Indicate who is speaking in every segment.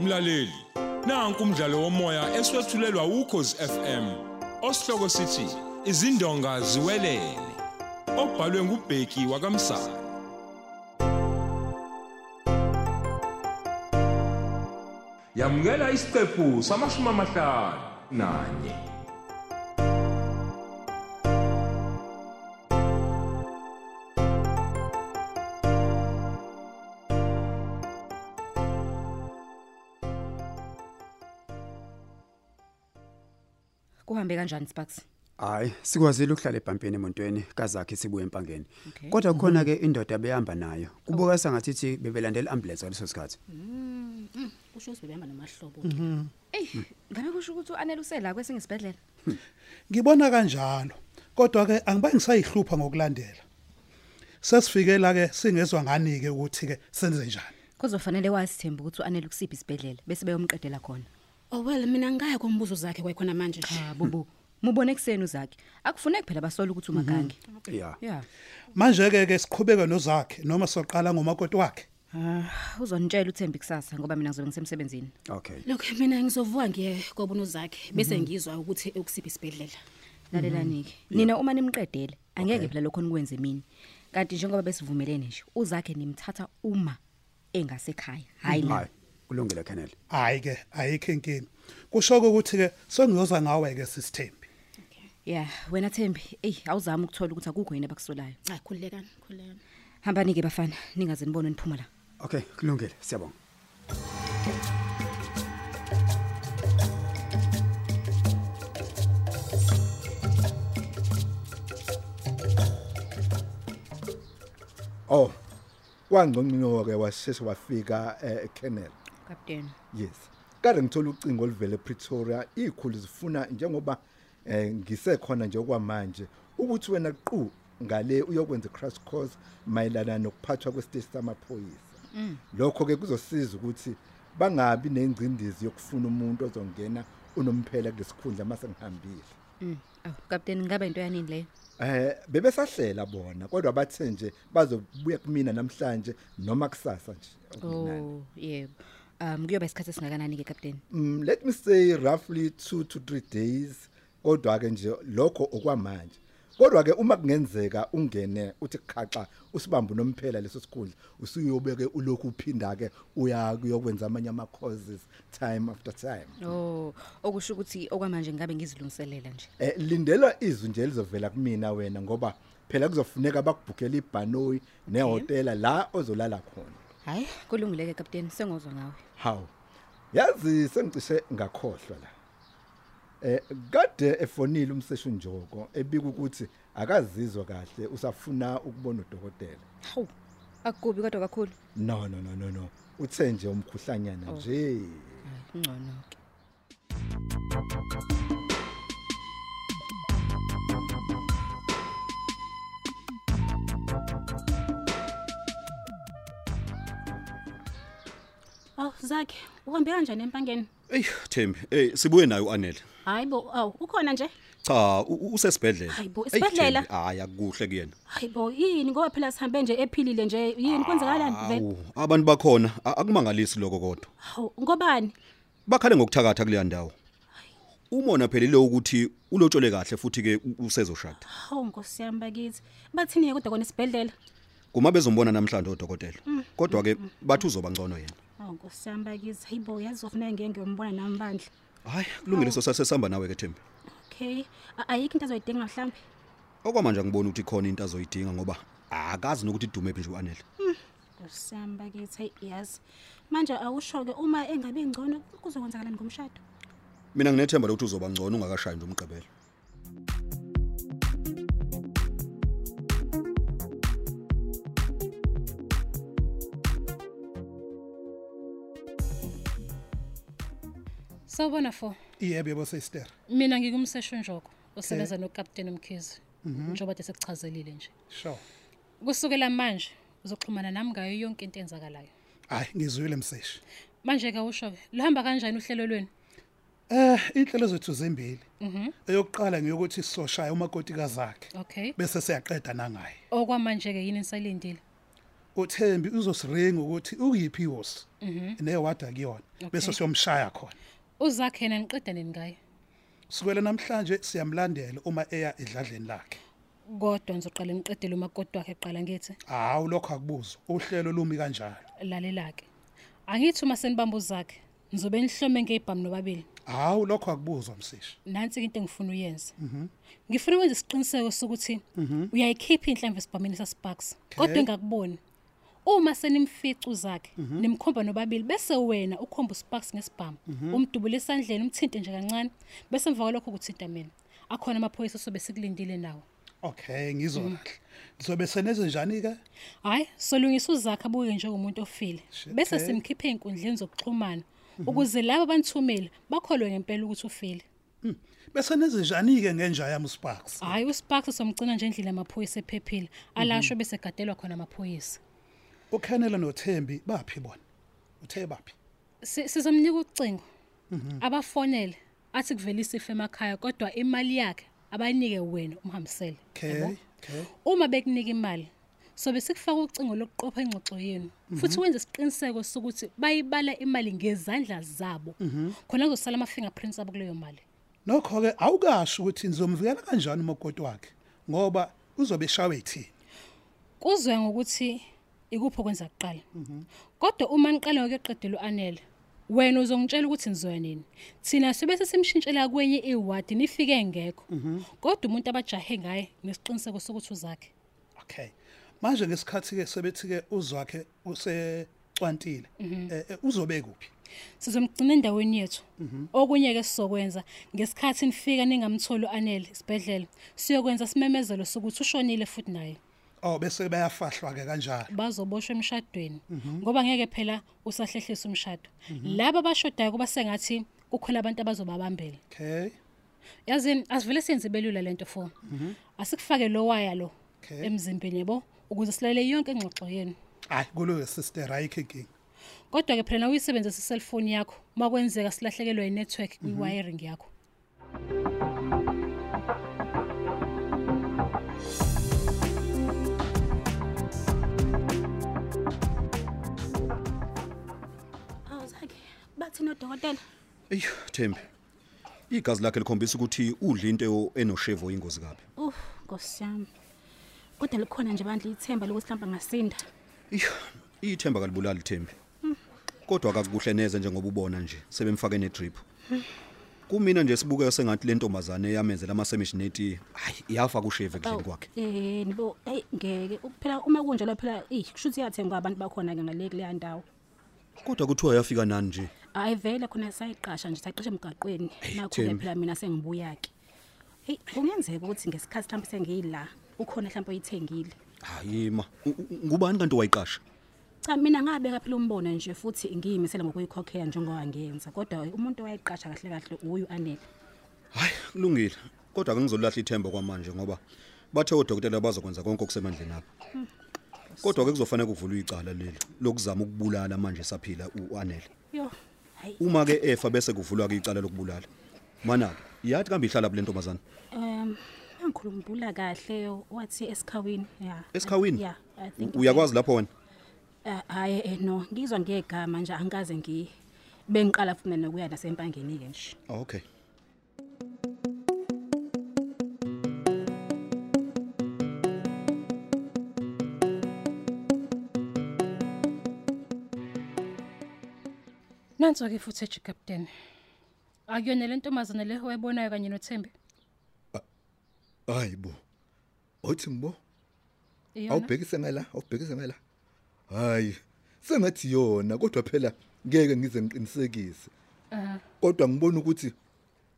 Speaker 1: Mlaleli, nanku umdlalo womoya eswetshulelwa ukhozi FM. Osihloko sithi izindonga ziwelele. Obhalwe ngubheki wakamsana. Yamukela isiqephu samashumi amahlanu nanye.
Speaker 2: kuhambe kanjani Sparks
Speaker 3: Hayi, sikwazile ukuhlala ebhampini emontweni kazakhe sibuye empangeni.
Speaker 2: Okay. Mhm. Oh.
Speaker 3: Kodwa kukhona ke indoda beyihamba nayo. Kubuka sengathi bebelandela ambulance ngaleso sikhathi.
Speaker 4: kusho ukuthi bebehamba namahlobo
Speaker 2: eyi ngabe kusho ukuthi u-anele usela kwesingisibhedlela
Speaker 5: Ngibona kanjalo. Kodwa ke angibe ngisayihlupha ngokulandela. Sesifikela ke singezwe ngani ke ukuthi ke senze njani.
Speaker 2: kuzofanele wazithemba ukuthi u-anele kusiphi isibhedlela bese beyomqedela khona
Speaker 4: oh well mina ngaya kombuzo zakhe kwayikhona manje nje
Speaker 2: cha bubu mubone ekuseni uzakhe akufuneki phela basole ukuthi umagange
Speaker 3: Yeah.
Speaker 2: ya
Speaker 5: Manje ke ke siqhubeka nozakhe noma soqala ngomakoti wakhe.
Speaker 2: Ah, uzonitshela uthembi kusasa ngoba mina ngizobe ngisemsebenzini
Speaker 3: Okay.
Speaker 4: lokho mina ngizovuka ngiye kobona uzakhe bese ngizwa ukuthi ukusiphi isibhedlela
Speaker 2: lalelani-ke nina uma nimqedele angeke phela lokho nikwenze mina kanti njengoba besivumelene nje uzakhe nimthatha uma engasekhaya hhayi la
Speaker 3: Hayi, kulungile Kenneth.
Speaker 5: Hayi ke ayikho inkingi. Kusho ukuthi ke sengiyoza ngawe ke sisithembi.
Speaker 2: ya wena thembi eyi awuzami ukuthola ukuthi akukho yini abakusolayo
Speaker 4: hayi khululekani khululekani
Speaker 2: hambani-ke bafana ningaze nibone niphuma la
Speaker 3: Okay, kulungile. Siyabonga.
Speaker 6: Oh. Wangconcino ke wasese wafika eKennel.
Speaker 2: kapteni
Speaker 6: Yes. Kade ngithola ucingo oluvela ePretoria ikhulu zifuna njengoba eh, ngisekhona nje okwamanje ukuthi wena qhu ngale uyokwenza crash course mayelana nokuphathwa kwesiteshi samaphoyisa. Lokho ke kuzosiza ukuthi bangabi nengcindezi yokufuna umuntu ozongena unomphela kulesikhundla mase ngihambile.
Speaker 2: Mm. Aw, kapteni ngabe into yanini leyo
Speaker 6: Eh bebesahlela bona kodwa bathe nje bazobuya kumina namhlanje noma kusasa nje. okungenani.
Speaker 2: oh yebo um kuyoba isikhathi esingakanani-ke kapteni
Speaker 6: Mm let me say roughly 2 to 3 days kodwa ke nje lokho okwamanje. Kodwa ke uma kungenzeka ungene uthi khaxa usibambe nomphela leso sikhundla usuyobeke ulokhu uphinda ke uya kuyokwenza amanye ama causes time after time.
Speaker 2: o Oh, okusho ukuthi okwamanje ngabe ngizilungiselela nje
Speaker 6: Eh lindela izwi nje elizovela kumina wena ngoba phela kuzofuneka bakubhukele ibhanoyi nehotela la ozolala khona.
Speaker 2: hhayi kulungile-ke kapteni sengozwa ngawe
Speaker 6: Haw. Yazi sengicishe ngakhohlwa la. Eh kade efonile umseshu Njoko ebika ukuthi akazizwa kahle usafuna ukubona udokotela.
Speaker 2: hawu akukubi kodwa kakhulu
Speaker 6: No no no no no. Uthe nje umkhuhlanyana nje.
Speaker 2: Hhayi, kungcono-ke
Speaker 4: aw Oh, zakhe uhambe kanjani empangeni
Speaker 7: Ey Thembi, hey sibuye naye uanele.
Speaker 4: hayi bo aw ukhona nje
Speaker 7: Cha, u- u- usesibhedlela.
Speaker 4: Hayi bo,
Speaker 7: Eyi,
Speaker 4: esibhedlela?
Speaker 7: Thembi, Hayi akuhle kuyena.
Speaker 4: hayi bo yini ngoba phela sihambe nje ephilile nje yini kwenzekalani vele
Speaker 7: Awu, abantu bakhona a- akumangalisi lokho kodwa.
Speaker 4: hawu ngobani
Speaker 7: Bakhale ngokuthakatha kuleya ndawo. Umona phelile ukuthi ulotshole kahle futhi ke u- usezoshada.
Speaker 4: hawu nkosi yami bakithi bathini-ke kodwa kona isibhedlela
Speaker 7: Kuma bezombona namhlanje odokotela.
Speaker 4: Mm,
Speaker 7: Kodwa ke bathi uzoba ngcono yena.
Speaker 4: hawu nkosi yami bakithi hayi bo yazi uzofuneka ngeke ngiyombona nami bandla
Speaker 7: Hayi, kulungile
Speaker 4: Oh.
Speaker 7: so sasesihamba nawe ke Thembi.
Speaker 4: okay A- ayikho into azoyidinga mhlawumbe
Speaker 7: Okwamanje ngibona ukuthi khona into azoyidinga ngoba akazi nokuthi idume phi nje uanele.
Speaker 4: nkosi yami bakithi hayi yazi manje awusho-ke uma engabe ngcono kuzokwenzakalani ngomshado
Speaker 7: Mina nginethemba lokuthi uzoba ngcono ungakashayi nje umgqibelo.
Speaker 8: Sawubona fo.
Speaker 5: Yebo yebo sister.
Speaker 8: Mina ngikumsesho njoko osebenza noCaptain Mkhize. Njengoba desekuchazelile nje.
Speaker 5: Sure.
Speaker 8: Kusukela manje uzoxhumana nami ngayo yonke into enzakalayo.
Speaker 5: Hayi ngizwile umseshi.
Speaker 8: Manje ke usho ke luhamba kanjani uhlelo lweni?
Speaker 5: Eh inhlelo zethu zimbili. Mhm. Eyokuqala ngiyokuthi sizoshaya umakoti kazakhe.
Speaker 8: Okay.
Speaker 5: Bese siyaqeda nangaye.
Speaker 8: Okwamanje ke yini ensalindile?
Speaker 5: uThembi uzosiringa ukuthi ukuyiphi ihosi nehowada kuyona bese siyomshaya khona
Speaker 8: uzakhe yena niqeda nini ngaye
Speaker 5: sikwela namhlanje siyamlandela uma eya edladleni lakhe
Speaker 8: kodwa nizoqala niqedele umakoti wakhe kuqala ngithi
Speaker 5: hawu lokho akubuzwa uhlelo lumi kanjalo
Speaker 8: lalela-ke angithi uma senibamba uzakhe nizobe nihlome ngebhamu nobabili
Speaker 5: hawu lokho akubuzwa msisha
Speaker 8: nansi-ke into engifuna uyenze
Speaker 5: Mhm.
Speaker 8: ngifuna ukwenza isiqiniseko sokuthi uyayikhipha iy'nhlamvu esibhameni sasipaks kodwa engakuboni uma senimfica uzakhe
Speaker 5: Mhm.
Speaker 8: nimkhomba nobabili bese wena ukhomba usparks ngesibhamu
Speaker 5: Mhm.
Speaker 8: umdubule esandleni umthinte nje kancane bese mva kwalokho ukuthinta mina akhona amaphoyisa osobe sikulindile nawo
Speaker 5: okay ngizwa kahle nizobe seneze njani ke
Speaker 8: hhayi solungisa uzakhe abuke njengomuntu ofile
Speaker 5: Shit,
Speaker 8: bese
Speaker 5: okay. Mhm.
Speaker 8: simkhiphe ey'nkundleni zokuxhumana ukuze labo abanithumile bakholwe ngempela ukuthi ufile
Speaker 5: bese neze njani ke ngenja yami sparks
Speaker 8: hhayi usparks somgcina nje endlini amaphoyisa ephephile
Speaker 5: Mhm.
Speaker 8: alashwe bese gadelwa khona amaphoyisa
Speaker 5: ukhenela noThembi baphi bona uthe baphi
Speaker 8: Si- sizomnika ucingo
Speaker 5: Mhm.
Speaker 8: abafonele athi kuvele isifo emakhaya kodwa imali yakhe abayinike wena umhambisele
Speaker 5: okay
Speaker 8: yabo?
Speaker 5: okay
Speaker 8: uma bekunika imali sobe sikufaka ucingo lokuqopha ingxoxo yenu
Speaker 5: Mhm.
Speaker 8: futhi wenze isiqiniseko sokuthi bayibala imali ngezandla zabo
Speaker 5: Mhm.
Speaker 8: khona kuzosala ama-fingerprints abo kuleyo mali
Speaker 5: nokho ke awukasho ukuthi nizomvikela kanjani umakoti wakhe ngoba uzobe eshawe ithini
Speaker 8: kuzoya ngokuthi ikuphi okwenza kuqala kodwa uma niqala ngokuyeqedela u-anele wena uzongitshela ukuthi nizoya nini thina sobe sesimshintshela kwenye iwadi nifike ngekho kodwa umuntu abajahe ngaye nesiqiniseko sokuthi uzakhe
Speaker 5: okay manje ngesikhathi ke sebethi ke uzwakhe usecwantile eh, eh, uzobe kuphi
Speaker 8: sizomgcina endaweni yethu okunye-ke sizokwenza ngesikhathi nifika ningamtholi u-anele isibhedlela siyokwenza simemezelo sokuthi ushonile futhi naye
Speaker 5: oh bese bayafahlwa ke kanjalo
Speaker 8: bazoboshwa emshadweni ngoba ngeke phela usahlehlisa umshado laba abashodayo kuba sengathi kukhona abantu abazobabambela
Speaker 5: okay
Speaker 8: yazini asivele siyenze belula lento for asikufake lo waya lo
Speaker 5: Okay.
Speaker 8: emzimbeni yabo ukuze silalele yonke ingxoxo yenu
Speaker 5: hayi kuloyo sister ayikho inkinga
Speaker 8: kodwa-ke phela nawe uyisebenzisa iselfoni yakho uma kwenzeka silahlekelwe yinethiwekhi kwi-wiring yakho
Speaker 4: awu zakhe bathini odokotela
Speaker 7: eyi thembi igazi lakhe likhombisa ukuthi udla into enoshevo ingozi kabi
Speaker 4: uh nkosi yami kodwa likhona nje bandla ithemba lokuthi mhlawumbe angasinda
Speaker 7: Iyo, ithemba kalibulali Thembi. Kodwa akakuhle neze njengoba ubona nje, sebemfake ne-drip. Kumina nje sibuke sengathi le ntombazane yamenzela ama-semisineti, hayi iyafa kusheve
Speaker 4: Awu,
Speaker 7: ekudleni kwakhe.
Speaker 4: eh nibo eyi ngeke phela uma kunjalo phela eyi kusho ukuthi iyathengwa abantu bakhona-ke ngale kuleya ndawo
Speaker 7: Kodwa kuthiwa yafika nani nje?
Speaker 4: hayi vele khona sayiqasha nje sayiqasha emgaqweni
Speaker 7: Eyi,
Speaker 4: nakho-ke
Speaker 7: Thembi.
Speaker 4: phela mina sengibuya-ke heyi kungenzeka ukuthi ngesikhathi mhlawumbe sengiyila ukhona mhlawumbe oyithengile
Speaker 7: Hayi ma, u- u- ngubani kanti wayiqasha?
Speaker 4: cha mina ngabeka phela umbono nje futhi ngiyimisela ngokuyikhokhela njengoba ngenza kodwa umuntu owayiqasha kahle kahle uyu anele
Speaker 7: Hayi, kulungile. Kodwa ngizolahla ithemba kwamanje ngoba bathe odokotela bazokwenza konke okusemandleni apha. Kodwa ke kuzofanele kuvulwe icala leli lokuzama ukubulala manje saphila uanele.
Speaker 4: yo hayi
Speaker 7: Uma ke efa bese kuvulwa ke icala lokubulala. Mana ke, yathi kambe ihlala kule ntombazana?
Speaker 4: um angikhulumbula kahle wathi esikhawini ya
Speaker 7: esikhawini
Speaker 4: ya I think-
Speaker 7: U- uyakwazi lapho wena
Speaker 4: Eh, hhayi eh, no ngizwa ngegama nje angikaze ngiye bengiqala futhi mina nokuya nasempangeni-ke nje
Speaker 7: oh, okay
Speaker 8: nanso-ke i-footage captain akuyona le ntombazane le wayibonayo kanye nothembi
Speaker 6: Oh. hayi bo othi mbo
Speaker 8: iyona
Speaker 6: awubhekise ngala awubhekise ngala hayi sengathi yona kodwa phela ngeke ngize ngiqinisekise kodwa ngibona ukuthi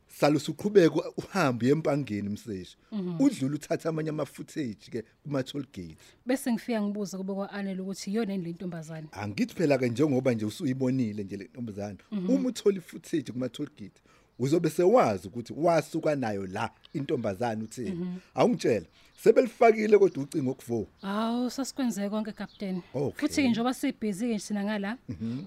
Speaker 6: salo suqhubeka uhambe empangeni mseshi udlule uthatha amanye ama footage ke kuma toll gate
Speaker 8: bese ngifika ngibuze kube kwa-anele ukuthi iyona yini le ntombazane
Speaker 6: angithi phela ke njengoba nje usuyibonile nje le ntombazana uma uthola ifootage kuma toll gate uzobe sewazi ukuthi wasuka nayo la intombazana uthini awungitshela sebelifakile kodwa ucingo okuvo
Speaker 8: hawu sasikwenze konke kapteni
Speaker 6: Okay.
Speaker 8: futhi-ke njengoba sibhizi-ke thina ngala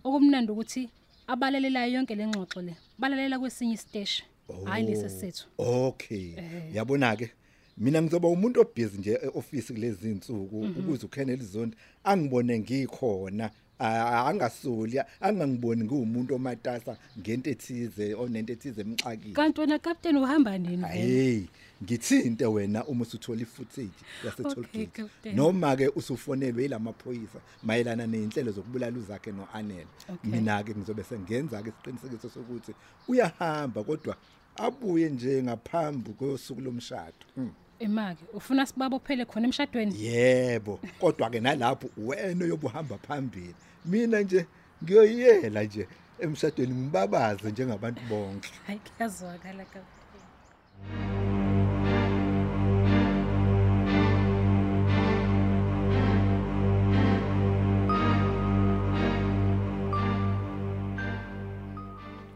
Speaker 8: okumnandi ukuthi abalalelayo yonke le ngxoxo le balalela kwesinye isiteshi hhayi lesi sethu
Speaker 6: okay yabona ke mina ngizoba umuntu obhizi nje eoffice kulezi insuku ukuze uKenneth Zondi angibone ngikhona a- angasoli angangiboni ngiwumuntu omatasa ngento ethize onento ethize emxakile
Speaker 8: kanti wena captain uhamba nini vele?
Speaker 6: hey ngithinte wena uma usuthola i-footage yasetollgate
Speaker 8: Captain.
Speaker 6: noma-ke usufonelwe yilamaphoyisa mayelana ney'nhlelo zokubulala uzakhe no-anele mina-ke ngizobe sengenza-ke isiqinisekiso sokuthi uyahamba kodwa abuye nje ngaphambi kosuku lomshado Mm.
Speaker 8: ema-ke ufuna sibaba uphele khona emshadweni
Speaker 6: yebo kodwa-ke nalapho wena oyobuhamba phambili mina nje ngiyoyiyela nje emshadweni ngibabaze njengabantu bonke
Speaker 8: hayi kuyazwakala captain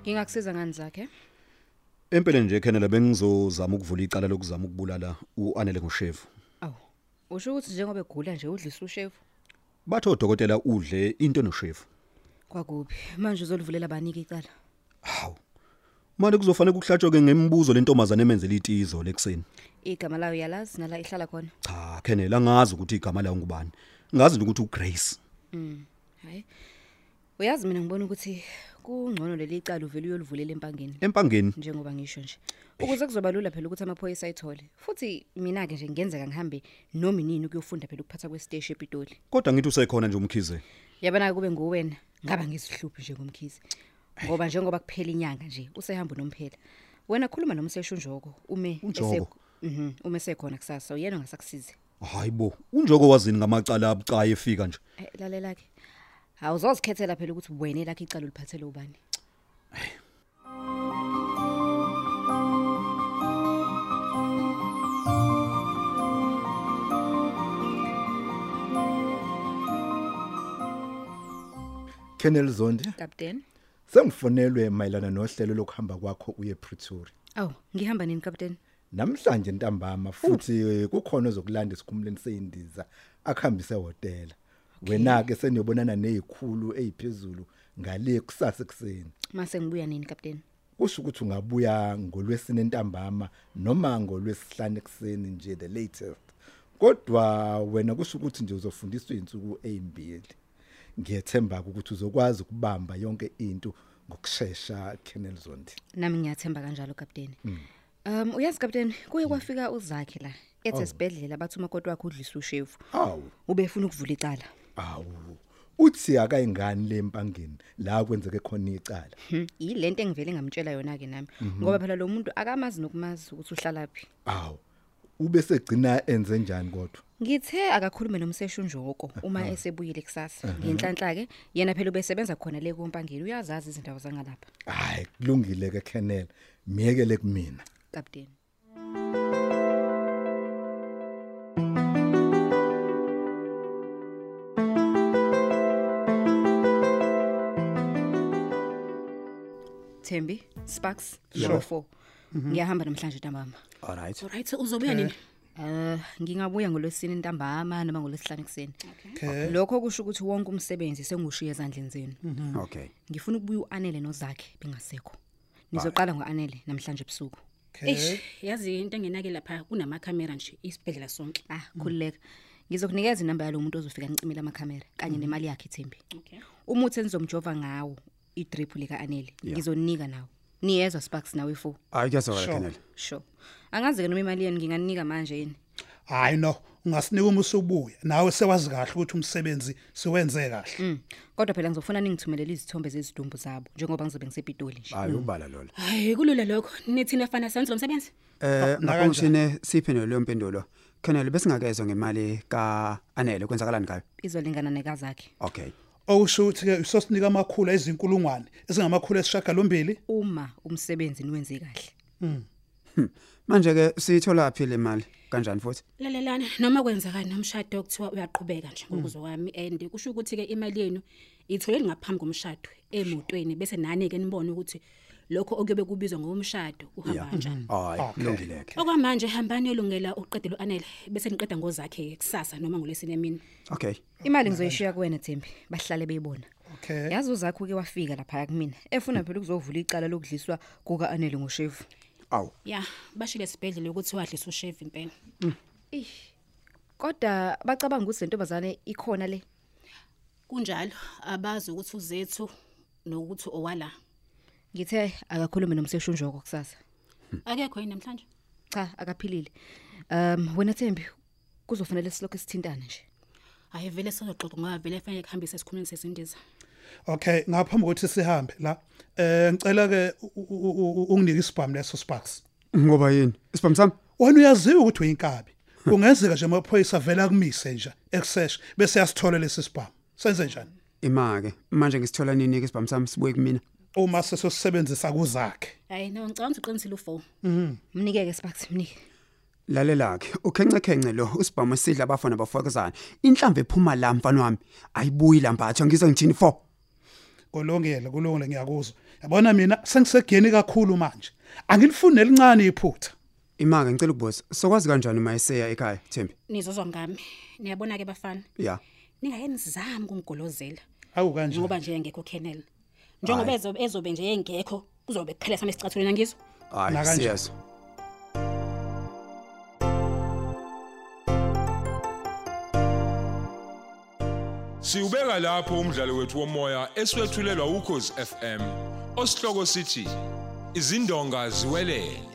Speaker 2: ngingakusiza ngani zakhe
Speaker 7: Empeleni nje Kenneth bengizozama ukuvula icala lokuzama ukubulala uanele ngoshevu.
Speaker 2: awu usho ukuthi njengoba egula nje udlisa ushefu
Speaker 7: Batho odokotela udle into noshevu.
Speaker 2: kwakuphi manje uzolivulela banike icala
Speaker 7: Hawu. Manje kuzofanele ukuhlatshwe ke ngemibuzo lentombazane emenzele itizo lekuseni.
Speaker 2: igama layo uyalazi nala ihlala khona
Speaker 7: Cha, Kenneth angazi ukuthi igama lawo ngubani. Ngazi nje ukuthi uGrace.
Speaker 2: hayi uyazi mina ngibona ukuthi kungcono leli cala uvele uyolivulela empangeni
Speaker 7: Empangeni.
Speaker 2: njengoba ngisho nje ukuze kuzoba lula phela ukuthi amaphoyisa ayithole futhi mina-ke nje ngenzeka ngihambe noma inini ukuyofunda phela ukuphatha kwesiteshi epitoli
Speaker 7: Kodwa ngithi usekhona nje umkhize.
Speaker 2: yabona-ke kube nguwena ngaba ngizihluphi nje ngomkhizi ngoba njengoba kuphela inyanga nje usehamba unomphela wena khuluma nomseshu unjoko ume
Speaker 7: UNjoko?
Speaker 2: mm uma esekhona kusasa uyena ongasakusize
Speaker 7: Hayibo, unjoko wazini ngamacala abucaye efika nje.
Speaker 2: Eh, lalela-ke awuzozikhethela phela ukuthi wena elakho icala uliphathele ubani
Speaker 6: kennel zondi
Speaker 2: kapteni
Speaker 6: sengifonelwe mayelana nohlelo lokuhamba kwakho uye pretoria
Speaker 2: awu ngihamba nini kapteni
Speaker 6: namhlanje ntambama futhi eh, kukhona ozokulanda esikhumuleni seyindiza akuhambise ehhotela wena-ke seniyobonana neyikhulu eyiphezulu ngale kusasa ekuseni
Speaker 2: mase ngibuya nini kapteni
Speaker 6: kusho ukuthi ungabuya ngolwesine ntambama noma ngolwesihlanu ekuseni nje the latest kodwa wena kusho ukuthi nje uzofundiswa iy'nsuku ey'mbili ngiyethemba-ke ukuthi uzokwazi ukubamba yonke into ngokushesha kennel zondi
Speaker 2: nami ngiyathemba kanjalo kapteni
Speaker 7: Mm.
Speaker 2: um uyazi kapteni kuye kwafika uzakhe la
Speaker 7: Oh.
Speaker 2: ethi esibhedlela bathi umakoti wakhe udlisa ushevu
Speaker 6: awu
Speaker 2: ubefuna ukuvula icala
Speaker 6: awu uthi akayingani le mpangeni la kwenzeke khona icala
Speaker 2: Hmm, yile nto engivele ngamtshela yona-ke nami ngoba phela lo muntu akamazi nokumazi ukuthi uhlalaphi
Speaker 6: awu ube segcina enze njani kodwa
Speaker 2: ngithe akakhulume nomseshu njoko uma esebuyile kusasa ngenhlanhla-ke yena phela ubesebenza khona le kompangeni uyazazi izindawo zangalapha
Speaker 6: hayi kulungile ke Kennel miyekele kumina
Speaker 2: kapteni thembi sparks number four ngiyahamba namhlanje ntambama
Speaker 3: all right
Speaker 4: olright uzobuya nini
Speaker 2: um ngingabuya ngolwesine ntambama noma ngolwesihlanu ekuseni lokho kusho ukuthi wonke umsebenzi sengiwushiye ezandleni zenu
Speaker 3: Hmm. okay
Speaker 2: ngifuna ukubuya u-anele nozakhe bengasekho nizoqala ngo-anele namhlanje ebusuku
Speaker 4: eish yazi into engenake lapha kunamakhamera nje isibhedlela sonke
Speaker 2: ah khululeka ngizokunikeza inamba yalo muntu ozofika nicimile amakhamera kanye nemali yakhe ithembi
Speaker 4: okay
Speaker 2: umuthi enizomjova ngawo idriphu lika-anele ngizoninika nawo niyezwa sparks nawe fo
Speaker 3: hayi kuyazwakala Kenneth
Speaker 2: sure angazi-ke noma imali yenu nginganinika manje yini
Speaker 5: hayi no ungasinika uma usubuya nawe sewazi kahle ukuthi umsebenzi siwenze kahle
Speaker 2: mm. kodwa phela ngizofuna ningithumelele izithombe zezidumbu zabo njengoba ngizobe ngisepitoli nje
Speaker 3: hayi ubala lolo
Speaker 4: hayi kulula lokho nithini efana senze lo msebenzi
Speaker 2: Ah,
Speaker 3: eh nakumshine siphendule leyo mpendulo Kenneth besingakezwe ngemali ka Anele kwenzakalani ngayo
Speaker 2: izolingana nekazakhe
Speaker 3: okay
Speaker 5: okusho ukuthi-ke usosinika amakhulu ezinkulungwane ezingamakhulu esishagalombili
Speaker 2: uma umsebenzi niwenze kahle
Speaker 3: manje ke siyithola phi le mali kanjani futhi
Speaker 2: Mm.
Speaker 4: lalelana noma kwenzekani nomshado okuthiwa uyaqhubeka nje ngokuzo kwami and kusho ukuthi-ke imali yenu itholeli ngaphambi komshado emotweni bese nani-ke nibone ukuthi lokho okuyobe kubizwa ngokomshado kuhamba kanjani
Speaker 3: hayi kulungileke
Speaker 4: okwamanje hambani elungela uqedelo anele bese niqeda ngozakhe kusasa noma ngolwesine mina
Speaker 3: okay
Speaker 2: imali ngizoyishiya kuwena thembi bahlale beyibona
Speaker 5: okay
Speaker 2: yazi uzakho uke wafika laphaya kumina efuna phela ukuzovula icala lokudliswa kuka-anele ngoshevu
Speaker 6: awu
Speaker 4: ya bashile sibhedlela ukuthi wadlisa usheve impela
Speaker 2: Ih. Kodwa bacabanga ukuthi lentombazane ikhona le.
Speaker 4: kunjalo abazi ukuthi uzethu nokuthi owala
Speaker 2: Ngithe akakhulume nomseshunjoko kusasa.
Speaker 4: akekho yini namhlanje
Speaker 2: Cha, akaphilile. Um wena Thembi kuzofanele silokho sithintane nje.
Speaker 4: hayi vele sizoxoxa ngoba vele fanele kuhambise esikhulumeni sezindiza
Speaker 5: Okay, ngaphambi kokuthi sihambe la. Eh ngicela ke unginike isibhamu leso Sparks.
Speaker 3: Ngoba yini? Isibhamu sami?
Speaker 5: Wena uyaziwa ukuthi uyinkabi. Kungenzeka nje amaphoyisa vela kumise nje excesh bese yasithola lesi sibhamu. Senze njani?
Speaker 3: Imake. Manje ngisithola nini ke isibhamu sami sibuye kumina?
Speaker 5: Uma sesosebenzisa kuzakhe.
Speaker 4: hayi no ngicabanga ukuthi uqinisile u4
Speaker 2: Mnike ke Sparks mnike.
Speaker 3: Lalelakhe, ukhencekhence lo usibhamu sidla abafana bafokozana. Inhlamvu ephuma la mfana wami. Ayibuyi lambatha ngizwe ngithini fo.
Speaker 5: Kulungile, kulungile ngiyakuzwa. Yabona mina sengisegeni kakhulu manje. Angilifuni elincane iphutha.
Speaker 3: Imake ngicela ukubuza, sokwazi kanjani uma eseya ekhaya, Thembi?
Speaker 4: nizozwa ngami niyabona ke bafana
Speaker 3: Ya.
Speaker 4: ningayeni zami kumgolozela
Speaker 5: Awu kanjani?
Speaker 4: ngoba nje engekho Kennel njengoba ezobe ezobe nje engekho kuzobe kuqhela sami sicathulweni ngizwa
Speaker 3: Hayi,
Speaker 5: Nakanje.
Speaker 3: siyezwa.
Speaker 1: Siubeka lapho umdlalo wethu womoya eswetshulelwa ukhozi FM. Osihloko sithi izindonga ziwelele.